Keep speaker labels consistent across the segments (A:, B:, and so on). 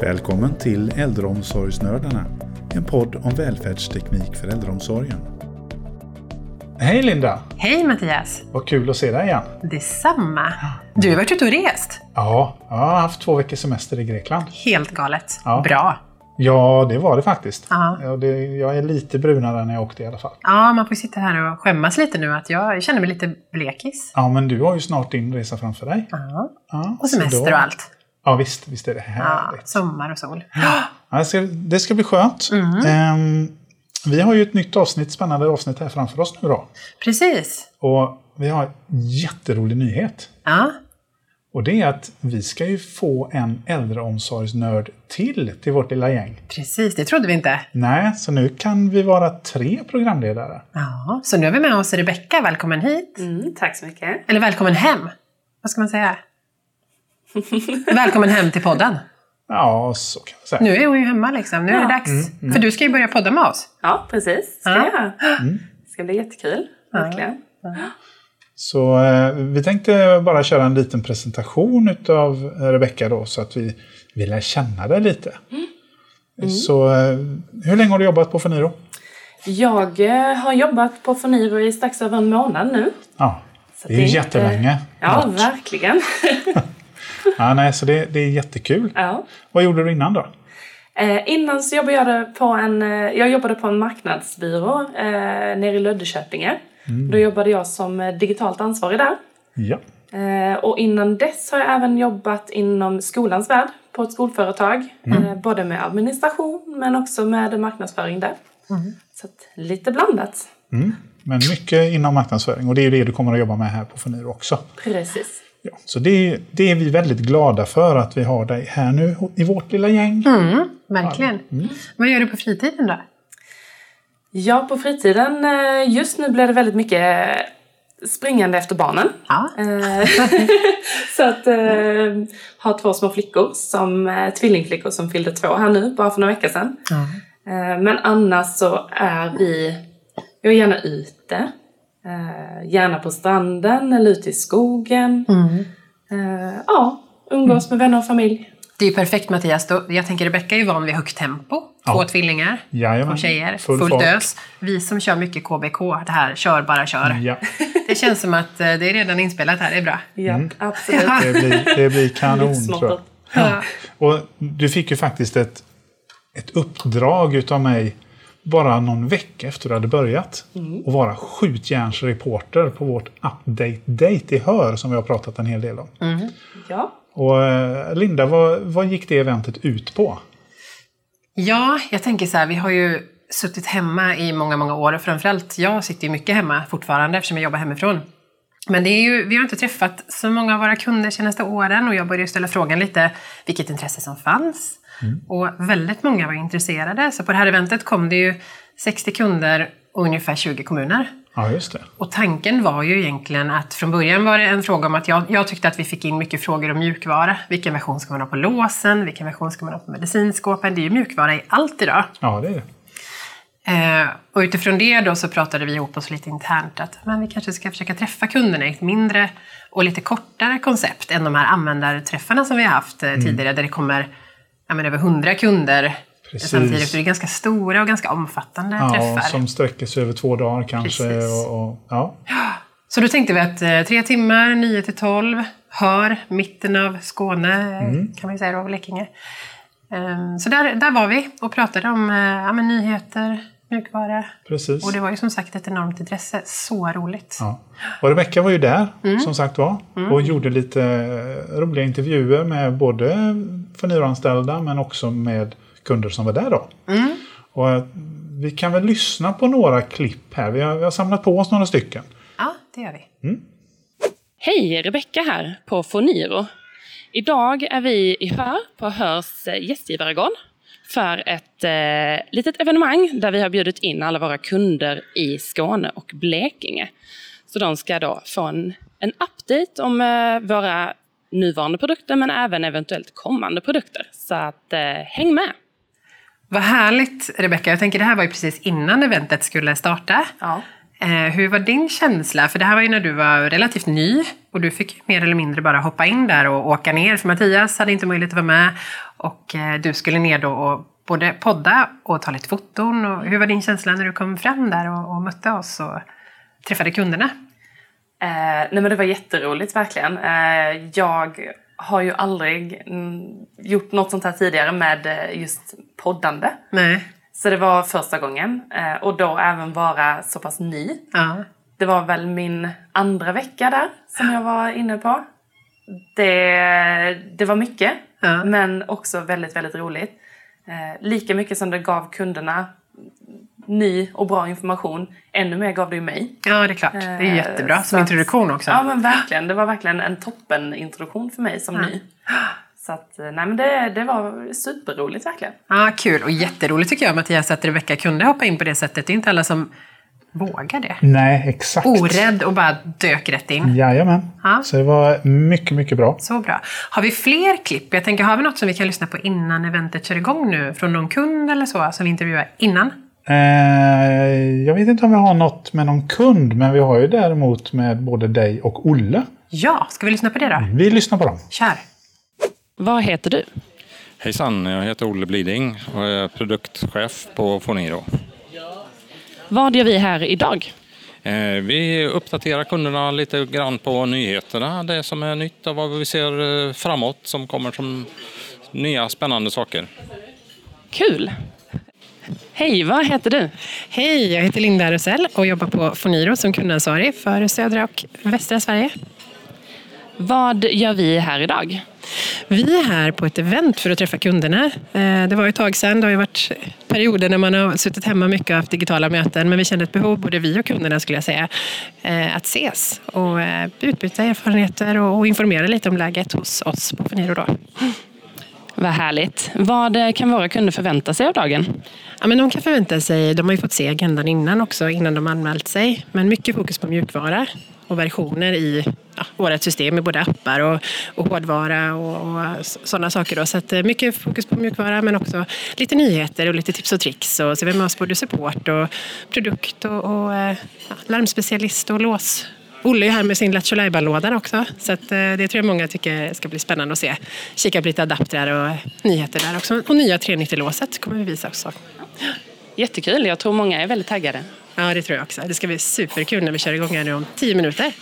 A: Välkommen till Äldreomsorgsnördarna, en podd om välfärdsteknik för äldreomsorgen. Hej Linda!
B: Hej Mattias!
A: Vad kul att se dig igen!
B: Detsamma! Du har varit ute och rest.
A: Ja, jag har haft två veckors semester i Grekland.
B: Helt galet.
A: Ja.
B: Bra!
A: Ja, det var det faktiskt.
B: Ja.
A: Ja, det, jag är lite brunare när jag åkte i alla fall.
B: Ja, man får sitta här och skämmas lite nu att jag känner mig lite blekis.
A: Ja, men du har ju snart din resa framför dig.
B: Ja.
A: Ja,
B: Och
A: så
B: semester
A: då-
B: och allt.
A: Ja, visst, visst är det
B: Ja,
A: härligt.
B: sommar och sol.
A: Ja, det, ska, det ska bli skönt.
B: Mm.
A: Ehm, vi har ju ett nytt avsnitt, spännande avsnitt här framför oss nu då.
B: Precis!
A: Och vi har en jätterolig nyhet.
B: Ja,
A: Och det är att vi ska ju få en äldreomsorgsnörd till till vårt lilla gäng.
B: precis. Det trodde vi inte.
A: Nej, så nu kan vi vara tre programledare.
B: Ja, så nu har vi med oss Rebecka. Välkommen hit!
C: Mm, tack så mycket.
B: Eller välkommen hem! Vad ska man säga? Välkommen hem till podden.
A: Ja, så kan jag säga.
B: Nu är hon ju hemma liksom. Nu är det
C: Ja.
B: dags.
A: Mm,
B: För du ska ju börja podda med oss.
C: Ja, precis. Ska
B: Ja.
C: jag göra. Det ska bli jättekul. Verkligen.
A: Så eh, vi tänkte bara köra en liten presentation utav Rebecka då, så att vi vill lära känna dig lite. Så eh, hur länge har du jobbat på Feniro?
C: Jag eh, har jobbat på Foniro i strax över en månad nu.
A: Ja,
C: Så
A: det är
C: inte-
A: jättelänge.
C: Ja,
A: Något.
C: verkligen.
A: ja, nej, så det, det är jättekul.
C: ja.
A: Vad gjorde du innan då?
C: eh, innan så jobbade jag på en, eh, jag jobbade på en marknadsbyrå eh, nere i Löddeköpinge. Då jobbade jag som eh, digitalt ansvarig där.
A: Ja,
C: Eh, och innan dess har jag även jobbat inom skolans värld på ett skolföretag. Eh, både med administration men också med marknadsföring där. Så att, lite blandat.
A: mm. men mycket inom marknadsföring och det är ju det du kommer att jobba med här på Feniro också.
C: Precis.
A: Ja, så det, det är vi väldigt glada för att vi har dig här nu i vårt lilla gäng.
B: Mm, verkligen. Vad gör du på fritiden då?
C: Ja, på fritiden. eh, Just nu blir det väldigt mycket springande efter barnen.
B: Ja.
C: Eh, så att eh, har två små flickor, som eh, tvillingflickor som fyllde två här nu, bara för några veckor sedan. Eh, men annars så är vi, jag är gärna ute. Eh, gärna på stranden eller ute i skogen. Eh, ja, umgås med vänner och familj.
B: Det är ju perfekt Mattias. Då, jag tänker Rebecka är ju van vid högt tempo. Två
A: Ja.
B: tvillingar,
A: Jajamän.
B: två tjejer,
A: Full
B: fullt
A: fart.
B: ös. Vi som kör mycket KBK, det här kör bara kör.
A: Ja,
B: Det känns som att eh, det är redan inspelat här, det är bra.
C: Ja, absolut.
A: det blir, det blir kanon tror jag.
C: Livsmottot.
B: Ja.
A: Och du fick ju faktiskt ett, ett uppdrag utav mig bara någon vecka efter du hade börjat.
B: Mm.
A: Och vara skjutjärnsreporter på vårt Update Date i Hör som vi har pratat en hel del om.
B: Mm.
C: Ja.
A: Och eh, Linda, vad, vad gick det eventet ut på?
B: Ja, jag tänker så här, vi har ju suttit hemma i många, många år och framförallt jag sitter ju mycket hemma fortfarande eftersom jag jobbar hemifrån. Men det är ju, vi har inte träffat så många av våra kunder senaste åren och jag började ställa frågan lite vilket intresse som fanns. Och väldigt många var intresserade, så på det här eventet kom det ju 60 kunder och ungefär 20 kommuner.
A: Ja, just det.
B: Och tanken var ju egentligen att från början var det en fråga om att jag, jag tyckte att vi fick in mycket frågor om mjukvara. Vilken version ska man ha på låsen? Vilken version ska man ha på medicinskåpen? Det är ju mjukvara i allt idag.
A: Ja, det är det.
B: Eh, och utifrån det då så pratade vi ihop oss lite internt att men vi kanske ska försöka träffa kunderna i ett mindre och lite kortare koncept än de här användarträffarna som vi har haft eh,
A: Mm.
B: tidigare där det kommer ja, men över 100 kunder
A: Precis.
B: samtidigt. Så det är ganska stora och ganska omfattande
A: Ja,
B: träffar.
A: som sträcker sig över två dagar kanske.
B: Precis.
A: Och, och, ja.
B: Så då tänkte vi att eh, tre timmar, 9 till 12, hör, mitten av Skåne, eh, kan man ju säga då, Blekinge. Ehm, Så där, där var vi och pratade om eh, ja, men nyheter, mjukvara.
A: Precis.
B: Och det var ju som sagt ett enormt intresse. Så roligt.
A: Ja. Och Rebecka var ju där, som sagt var, och gjorde lite eh, roliga intervjuer med både förnyelseanställda men också med kunder som var där då. Och eh, vi kan väl lyssna på några klipp här. Vi har, vi har samlat på oss några stycken.
B: Ja, det gör vi.
D: Hej, Rebecka här på Foniro. Idag är vi i Hör på Hörs eh, gästgivaregård för ett eh, litet evenemang där vi har bjudit in alla våra kunder i Skåne och Blekinge. Så de ska då få en, en update om eh, våra nuvarande produkter men även eventuellt kommande produkter. Så att, eh, häng med!
B: Vad härligt Rebecka. Jag tänker det här var ju precis innan eventet skulle starta.
C: ja.
B: Eh, hur var din känsla? För det här var ju när du var relativt ny och du fick mer eller mindre bara hoppa in där och åka ner. För Mattias hade inte möjlighet att vara med och eh, du skulle ner då och både podda och ta lite foton. Och hur var din känsla när du kom fram där och, och mötte oss och träffade kunderna?
C: Eh, nej men det var jätteroligt verkligen. Eh, jag har ju aldrig mm, gjort något sånt här tidigare med eh, just poddande.
B: Nej.
C: Så det var första gången eh, och då även vara så pass ny.
B: Ja.
C: Det var väl min andra vecka där som jag var inne på. Det, det var mycket
B: Ja.
C: men också väldigt, väldigt roligt. Eh, lika mycket som det gav kunderna ny och bra information, ännu mer gav det ju mig.
B: ja, det är klart. Det är ju
C: Eh,
B: jättebra
C: så
B: som
C: att-
B: introduktion också.
C: Ja men verkligen. Det var verkligen en toppen introduktion för mig som ny. Så att, eh, nej men det, det var superroligt verkligen.
B: Ja, kul och jätteroligt tycker jag Mattias att Rebecka kunde hoppa in på det sättet. Det är inte alla som vågar det.
A: Nej, exakt.
B: Orädd och bara dök rätt in.
A: Jajamän.
B: Ja.
A: Så det var mycket, mycket bra.
B: Så bra. Har vi fler klipp? Jag tänker, har vi något som vi kan lyssna på innan eventet kör igång nu? Från någon kund eller så som vi intervjuar innan?
A: Eh, jag vet inte om vi har något med någon kund, men vi har ju däremot med både dig och Olle.
B: Ja, ska vi lyssna på det då?
A: Vi lyssnar på dem.
B: Kör!
D: Vad heter du?
E: Hejsan, jag heter Olle Bliding och är produktchef på Foniro.
D: Vad gör vi här idag?
E: Eh, Vi uppdaterar kunderna lite grann på nyheterna, det som är nytt och vad vi ser eh, framåt som kommer som nya spännande saker.
D: Kul! Hej, vad heter du?
B: Hej, jag heter Linda Rosell och jobbar på Foniro som kundansvarig för södra och västra Sverige.
D: Vad gör vi här idag?
B: Vi är här på ett event för att träffa kunderna. Eh, Det var ju ett tag sedan. Det har ju varit perioder när man har suttit hemma mycket och haft digitala möten. Men vi kände ett behov, både vi och kunderna skulle jag säga, eh, att ses och eh, utbyta erfarenheter och och informera lite om läget hos oss på Feniro. Då.
D: Vad härligt. Vad eh, kan våra kunder förvänta sig av dagen?
B: Ja, men de kan förvänta sig, de har ju fått se agendan innan också, innan de anmält sig. Men mycket fokus på mjukvara och versioner i ja, vårt system, i både appar och, och hårdvara och, och sådana saker. Då. Så att, eh, mycket fokus på mjukvara men också lite nyheter och lite tips och tricks. Och, så vi har med oss både support och produkt och, och eh, ja, larmspecialist och lås. Olle är här med sin Lattjo Lajban-låda också, så att, eh, det tror jag många tycker ska bli spännande att se. Kika på lite adaptrar och eh, nyheter där också. Och nya 390-låset kommer vi visa också.
D: Jättekul. Jag tror många är väldigt taggade.
B: Ja, det tror jag också. Det ska bli superkul när vi kör igång här nu om tio minuter.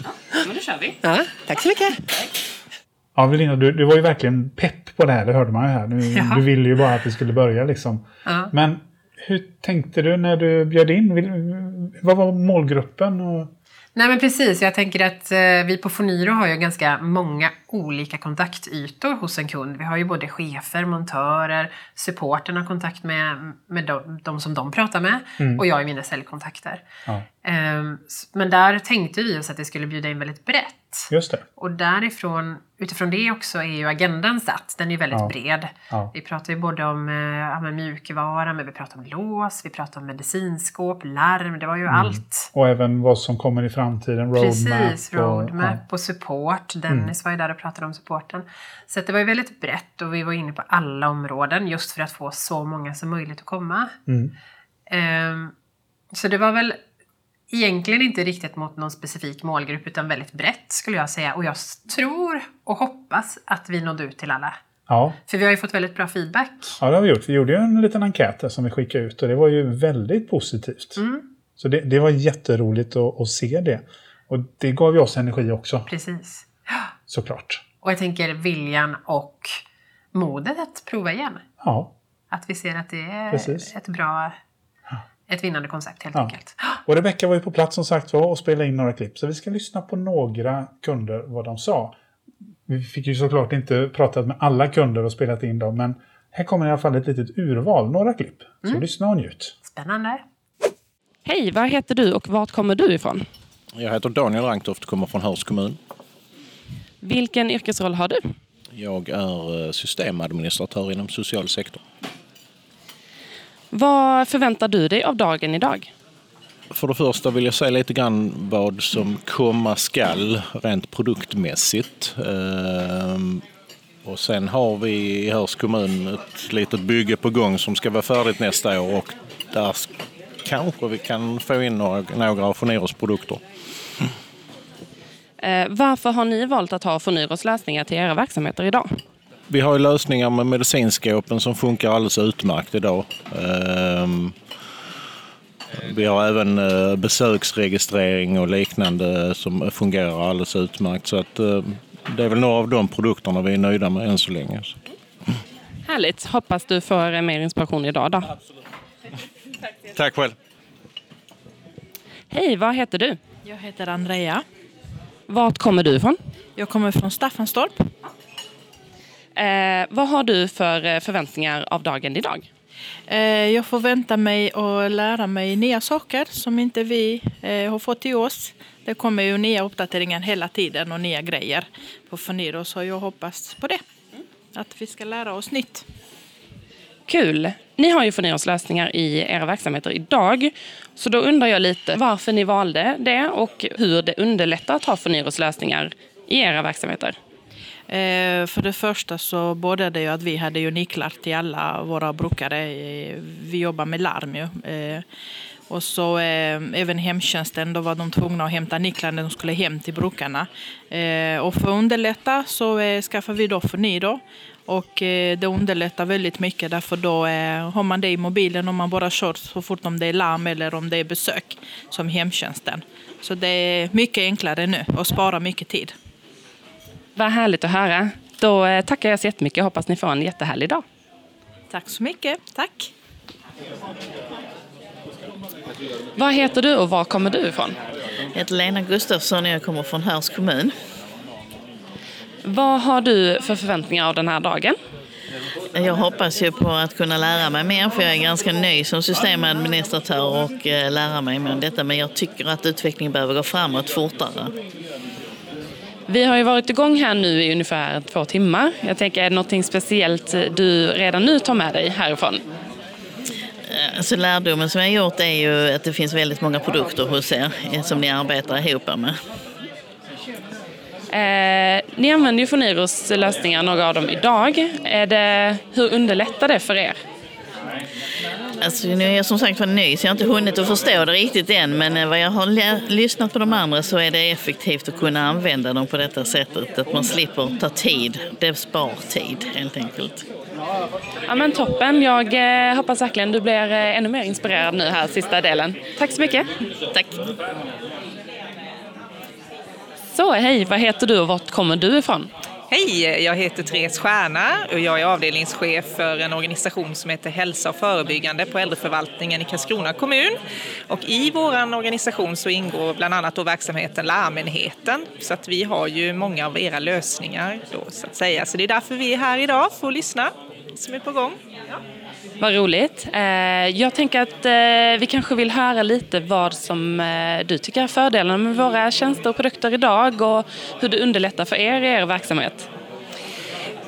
D: Men då kör vi.
B: Ja, tack så mycket.
A: Ja, Linda, du, du var ju verkligen pepp på det här, det hörde man ju här. Du,
B: Ja.
A: du ville ju bara att vi skulle börja liksom.
B: Ja.
A: Men hur tänkte du när du bjöd in? Vill- Vad var målgruppen? Och...
B: Nej, men precis. Jag tänker att eh, vi på Foniro har ju ganska många olika kontaktytor hos en kund. Vi har ju både chefer, montörer, supporten har kontakt med, med de, de som de pratar med och jag i mina säljkontakter.
A: Ja,
B: Ehm, s- men där tänkte vi oss att det skulle bjuda in väldigt brett.
A: just det.
B: Och därifrån, utifrån det också är ju agendan satt. Den är ju väldigt
A: Ja.
B: bred.
A: Ja.
B: Vi pratar ju både om eh, ja, men mjukvara, men vi pratar om lås, vi pratar om medicinskåp, larm, det var
A: Mm.
B: ju allt.
A: Och även vad som kommer i framtiden, roadmap.
B: Precis, roadmap
A: Och, ja. Mm.
B: och support. Dennis var ju där och pratade om supporten. Så att det var ju väldigt brett och vi var inne på alla områden just för att få så många som möjligt att komma.
A: Mm.
B: Ehm, så det var väl egentligen inte riktigt mot någon specifik målgrupp utan väldigt brett skulle jag säga. Och jag s- tror och hoppas att vi nådde ut till alla.
A: Ja.
B: För vi har ju fått väldigt bra feedback.
A: ja, det har vi gjort. Vi gjorde ju en liten enkät där som vi skickade ut och det var ju väldigt positivt.
B: Mm.
A: Så det, det var jätteroligt att, att se det. Och det gav ju oss energi också,
B: Precis.
A: såklart.
B: Och jag tänker viljan och modet att prova igen.
A: Ja.
B: Att vi ser att det är
A: Precis.
B: ett bra, ett vinnande koncept helt
A: Ja.
B: enkelt.
A: Och Rebecka var ju på plats som sagt var och spelade in några klipp. Så vi ska lyssna på några kunder vad de sa. Vi fick ju såklart inte pratat med alla kunder och spelat in dem. Men här kommer i alla fall ett litet urval, några klipp. Så lyssna och njut.
B: Spännande.
D: Hej, vad heter du och vart kommer du ifrån?
F: Jag heter Daniel Ranktoft och kommer från Höörs kommun.
D: Vilken yrkesroll har du?
F: Jag är eh, systemadministratör inom social sektor.
D: Vad förväntar du dig av dagen idag?
F: För det första vill jag säga lite grann vad som komma skall rent produktmässigt. Ehm, Och sen har vi i Höörs kommun ett litet bygge på gång som ska vara färdigt nästa år och där kanske vi kan få in några, några av Foneros produkter.
C: Eh, varför har ni valt att ha Foneros lösningar till era verksamheter idag?
F: Vi har ju lösningar med medicinskåpen som funkar alldeles utmärkt idag. Ehm, Vi har även eh, besöksregistrering och liknande som fungerar alldeles utmärkt. Så att eh, det är väl några av de produkterna vi är nöjda med än så länge. Så.
C: Härligt. Hoppas du får eh, mer inspiration idag då.
F: Tack själv.
C: Hej, vad heter du?
G: Jag heter Andrea.
C: Vart kommer du ifrån?
G: Jag kommer från Staffanstorp.
C: Eh, vad har du för eh, förväntningar av dagen idag?
G: Eh, Jag förväntar mig att lära mig nya saker som inte vi eh, har fått till oss. Det kommer ju nya uppdateringar hela tiden och nya grejer på Foniro, så jag hoppas på det. Att vi ska lära oss nytt.
C: Kul! Ni har ju Foneros lösningar i era verksamheter idag. Så då undrar jag lite varför ni valde det och hur det underlättar att ha Foneros lösningar i era verksamheter.
G: Eh, För det första så både det ju att vi hade ju nycklar till alla våra brukare. Eh, Vi jobbar med larm ju. Eh, Och så eh, även hemtjänsten, då var de tvungna att hämta nycklar när de skulle hem till brukarna. Eh, och för att underlätta så eh, skaffar vi då Fony då. Och eh, det underlättar väldigt mycket därför då eh, har man det i mobilen om man bara kör så fort om det är larm eller om det är besök som hemtjänsten. Så det är mycket enklare nu och sparar mycket tid.
C: Vad härligt att höra. Då eh, tackar jag så jättemycket. Hoppas ni får en jättehärlig dag.
G: Tack så mycket. Tack.
C: Vad heter du och var kommer du ifrån?
H: Jag heter Lena Gustafsson och jag kommer från Hörs kommun.
C: Vad har du för förväntningar av den här dagen?
H: Jag hoppas ju på att kunna lära mig mer för jag är ganska ny som systemadministratör och eh, lära mig mer om detta. Men jag tycker att utvecklingen behöver gå framåt fortare.
C: Vi har ju varit igång här nu i ungefär två timmar. Jag tänker, är det någonting speciellt du redan nu tar med dig härifrån?
H: Eh, Alltså lärdomen som jag har gjort är ju att det finns väldigt många produkter hos er eh, som ni arbetar ihop med.
C: Eh, ni använder ju Foniros lösningar, några av dem, idag. Är det, hur underlättar det för er?
H: Alltså, nu är jag som sagt var ny så jag har inte hunnit att förstå det riktigt än men eh, vad jag har lä- lyssnat på de andra så är det effektivt att kunna använda dem på detta sättet. Att man slipper ta tid. Det spar tid helt enkelt.
C: Ja, men toppen, jag eh, hoppas verkligen du blir eh, ännu mer inspirerad nu här sista delen. Tack så mycket.
H: Tack.
C: Så, hej, vad heter du och vart kommer du ifrån?
I: Hej, jag heter Therese Stjärna och jag är avdelningschef för en organisation som heter Hälsa och förebyggande på äldreförvaltningen i Karlskrona kommun. Och i vår organisation så ingår bland annat då verksamheten Larmenheten. Så att vi har ju många av era lösningar då så att säga. Så det är därför vi är här idag för att lyssna som är på gång.
C: Vad roligt. Eh, jag tänker att eh, vi kanske vill höra lite vad som eh, du tycker är fördelarna med våra tjänster och produkter idag och hur det underlättar för er i er verksamhet.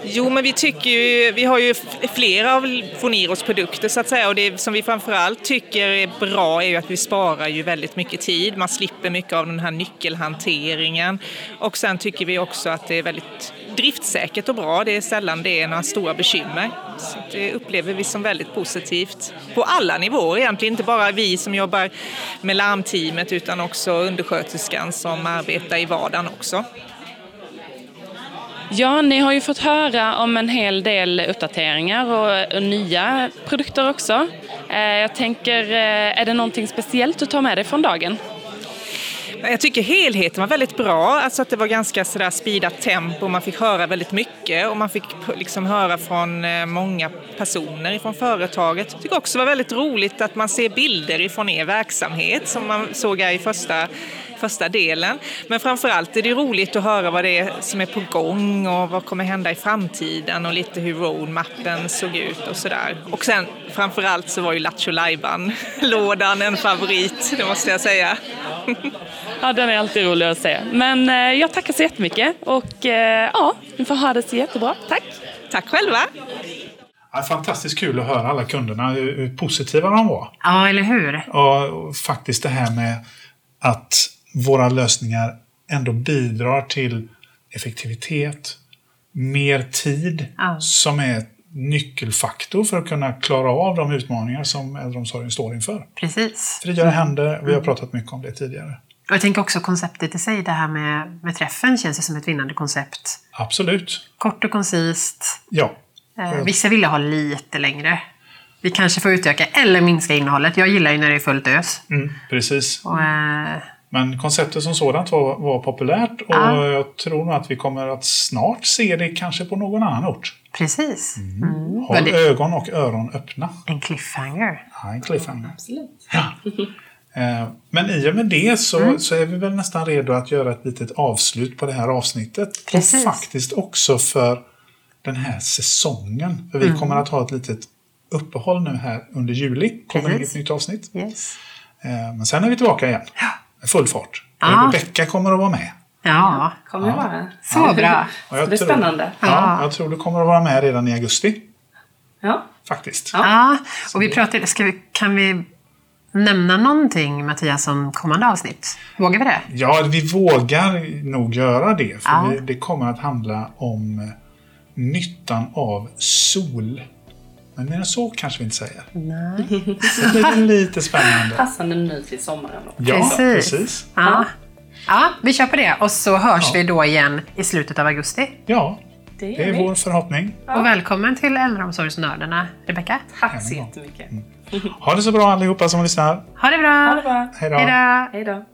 I: Jo, men vi tycker ju, vi har ju f- flera av Foniros produkter så att säga och det som vi framförallt tycker är bra är ju att vi sparar ju väldigt mycket tid. Man slipper mycket av den här nyckelhanteringen och sen tycker vi också att det är väldigt driftsäkert och bra. Det är sällan det är några stora bekymmer. Så det upplever vi som väldigt positivt på alla nivåer egentligen, inte bara vi som jobbar med larmteamet utan också undersköterskan som arbetar i vardagen också.
C: Ja, ni har ju fått höra om en hel del uppdateringar och, och nya produkter också. Eh, jag tänker, eh, är det någonting speciellt du tar med dig från dagen?
I: Men Jag tycker helheten var väldigt bra, alltså att det var ganska sådär speedat tempo, man fick höra väldigt mycket och man fick p- liksom höra från eh, många personer från företaget. Jag tycker också det var väldigt roligt att man ser bilder ifrån er verksamhet som man såg här i första, första delen. Men framförallt är det roligt att höra vad det är som är på gång och vad kommer hända i framtiden och lite hur roadmappen såg ut och sådär. Och sen framförallt så var ju Lattjo lådan en favorit, det måste jag säga.
C: Ja, den är alltid rolig att se. Men eh, jag tackar så jättemycket och eh, ja, ni får ha det så jättebra. Tack!
I: Tack själva!
A: Ja, fantastiskt kul att höra alla kunderna, hur, hur positiva de var.
B: Ja, eller hur?
A: Ja, och faktiskt det här med att våra lösningar ändå bidrar till effektivitet, mer tid
B: Ja.
A: som är nyckelfaktor för att kunna klara av de utmaningar som äldreomsorgen står inför.
B: Precis.
A: Friare händer, vi har
B: Mm.
A: pratat mycket om det tidigare.
B: Och jag tänker också konceptet i sig, det här med, med träffen känns det som ett vinnande koncept.
A: Absolut.
B: Kort och koncist.
A: Ja.
B: Eh, vissa ville ha lite längre. Vi kanske får utöka eller minska innehållet. Jag gillar ju när det är fullt ös.
A: Mm, precis.
B: Och, eh,
A: Men konceptet som sådant var, var populärt och
B: Ja.
A: jag tror nog att vi kommer att snart se det kanske på någon annan ort.
B: precis. Mm.
A: Håll
B: Väldigt-
A: ögon och öron öppna.
B: En cliffhanger.
A: Ja, en cliffhanger.
C: Absolut.
A: Eh, Men i och med det så,
B: Mm.
A: så är vi väl nästan redo att göra ett litet avslut på det här avsnittet.
B: Precis.
A: Och faktiskt också för den här säsongen. För vi
B: Mm.
A: kommer att ha ett litet uppehåll nu här under juli. Kommer
B: Precis.
A: ett nytt avsnitt.
B: Yes.
A: Eh, Men sen är vi tillbaka igen. Med full fart.
B: Ja.
A: Rebecka kommer att vara med.
B: Ja,
C: Kommer det vara.
B: så bra.
A: Och
C: Det blir
A: tror-
C: spännande.
A: Ja, jag tror du kommer att vara med redan i augusti.
C: Ja.
A: Faktiskt.
B: Ja, och vi pratade, ska vi, kan vi nämna någonting Mattias om kommande avsnitt? Vågar vi det?
A: Ja, vi vågar nog göra det. För
B: Ja.
A: vi, det kommer att handla om eh, nyttan av sol. Men mer än så kanske vi inte säger.
B: Nej.
A: Det blir lite spännande.
C: Passande nu till sommaren. Då.
A: Ja,
B: Precis.
A: precis.
B: Ja. ja, vi kör på det och så hörs vi då igen i slutet av augusti.
A: Ja,
C: Det
A: det
C: är
A: är
C: vi.
A: vår förhoppning.
B: Och välkommen till Äldreomsorgsnördarna, Rebecka.
C: Tack så jättemycket.
A: Ha det så bra allihopa som lyssnar.
B: Ha det bra!
C: Ha det bra.
A: Hej då.
B: Hej då!
C: Hej då.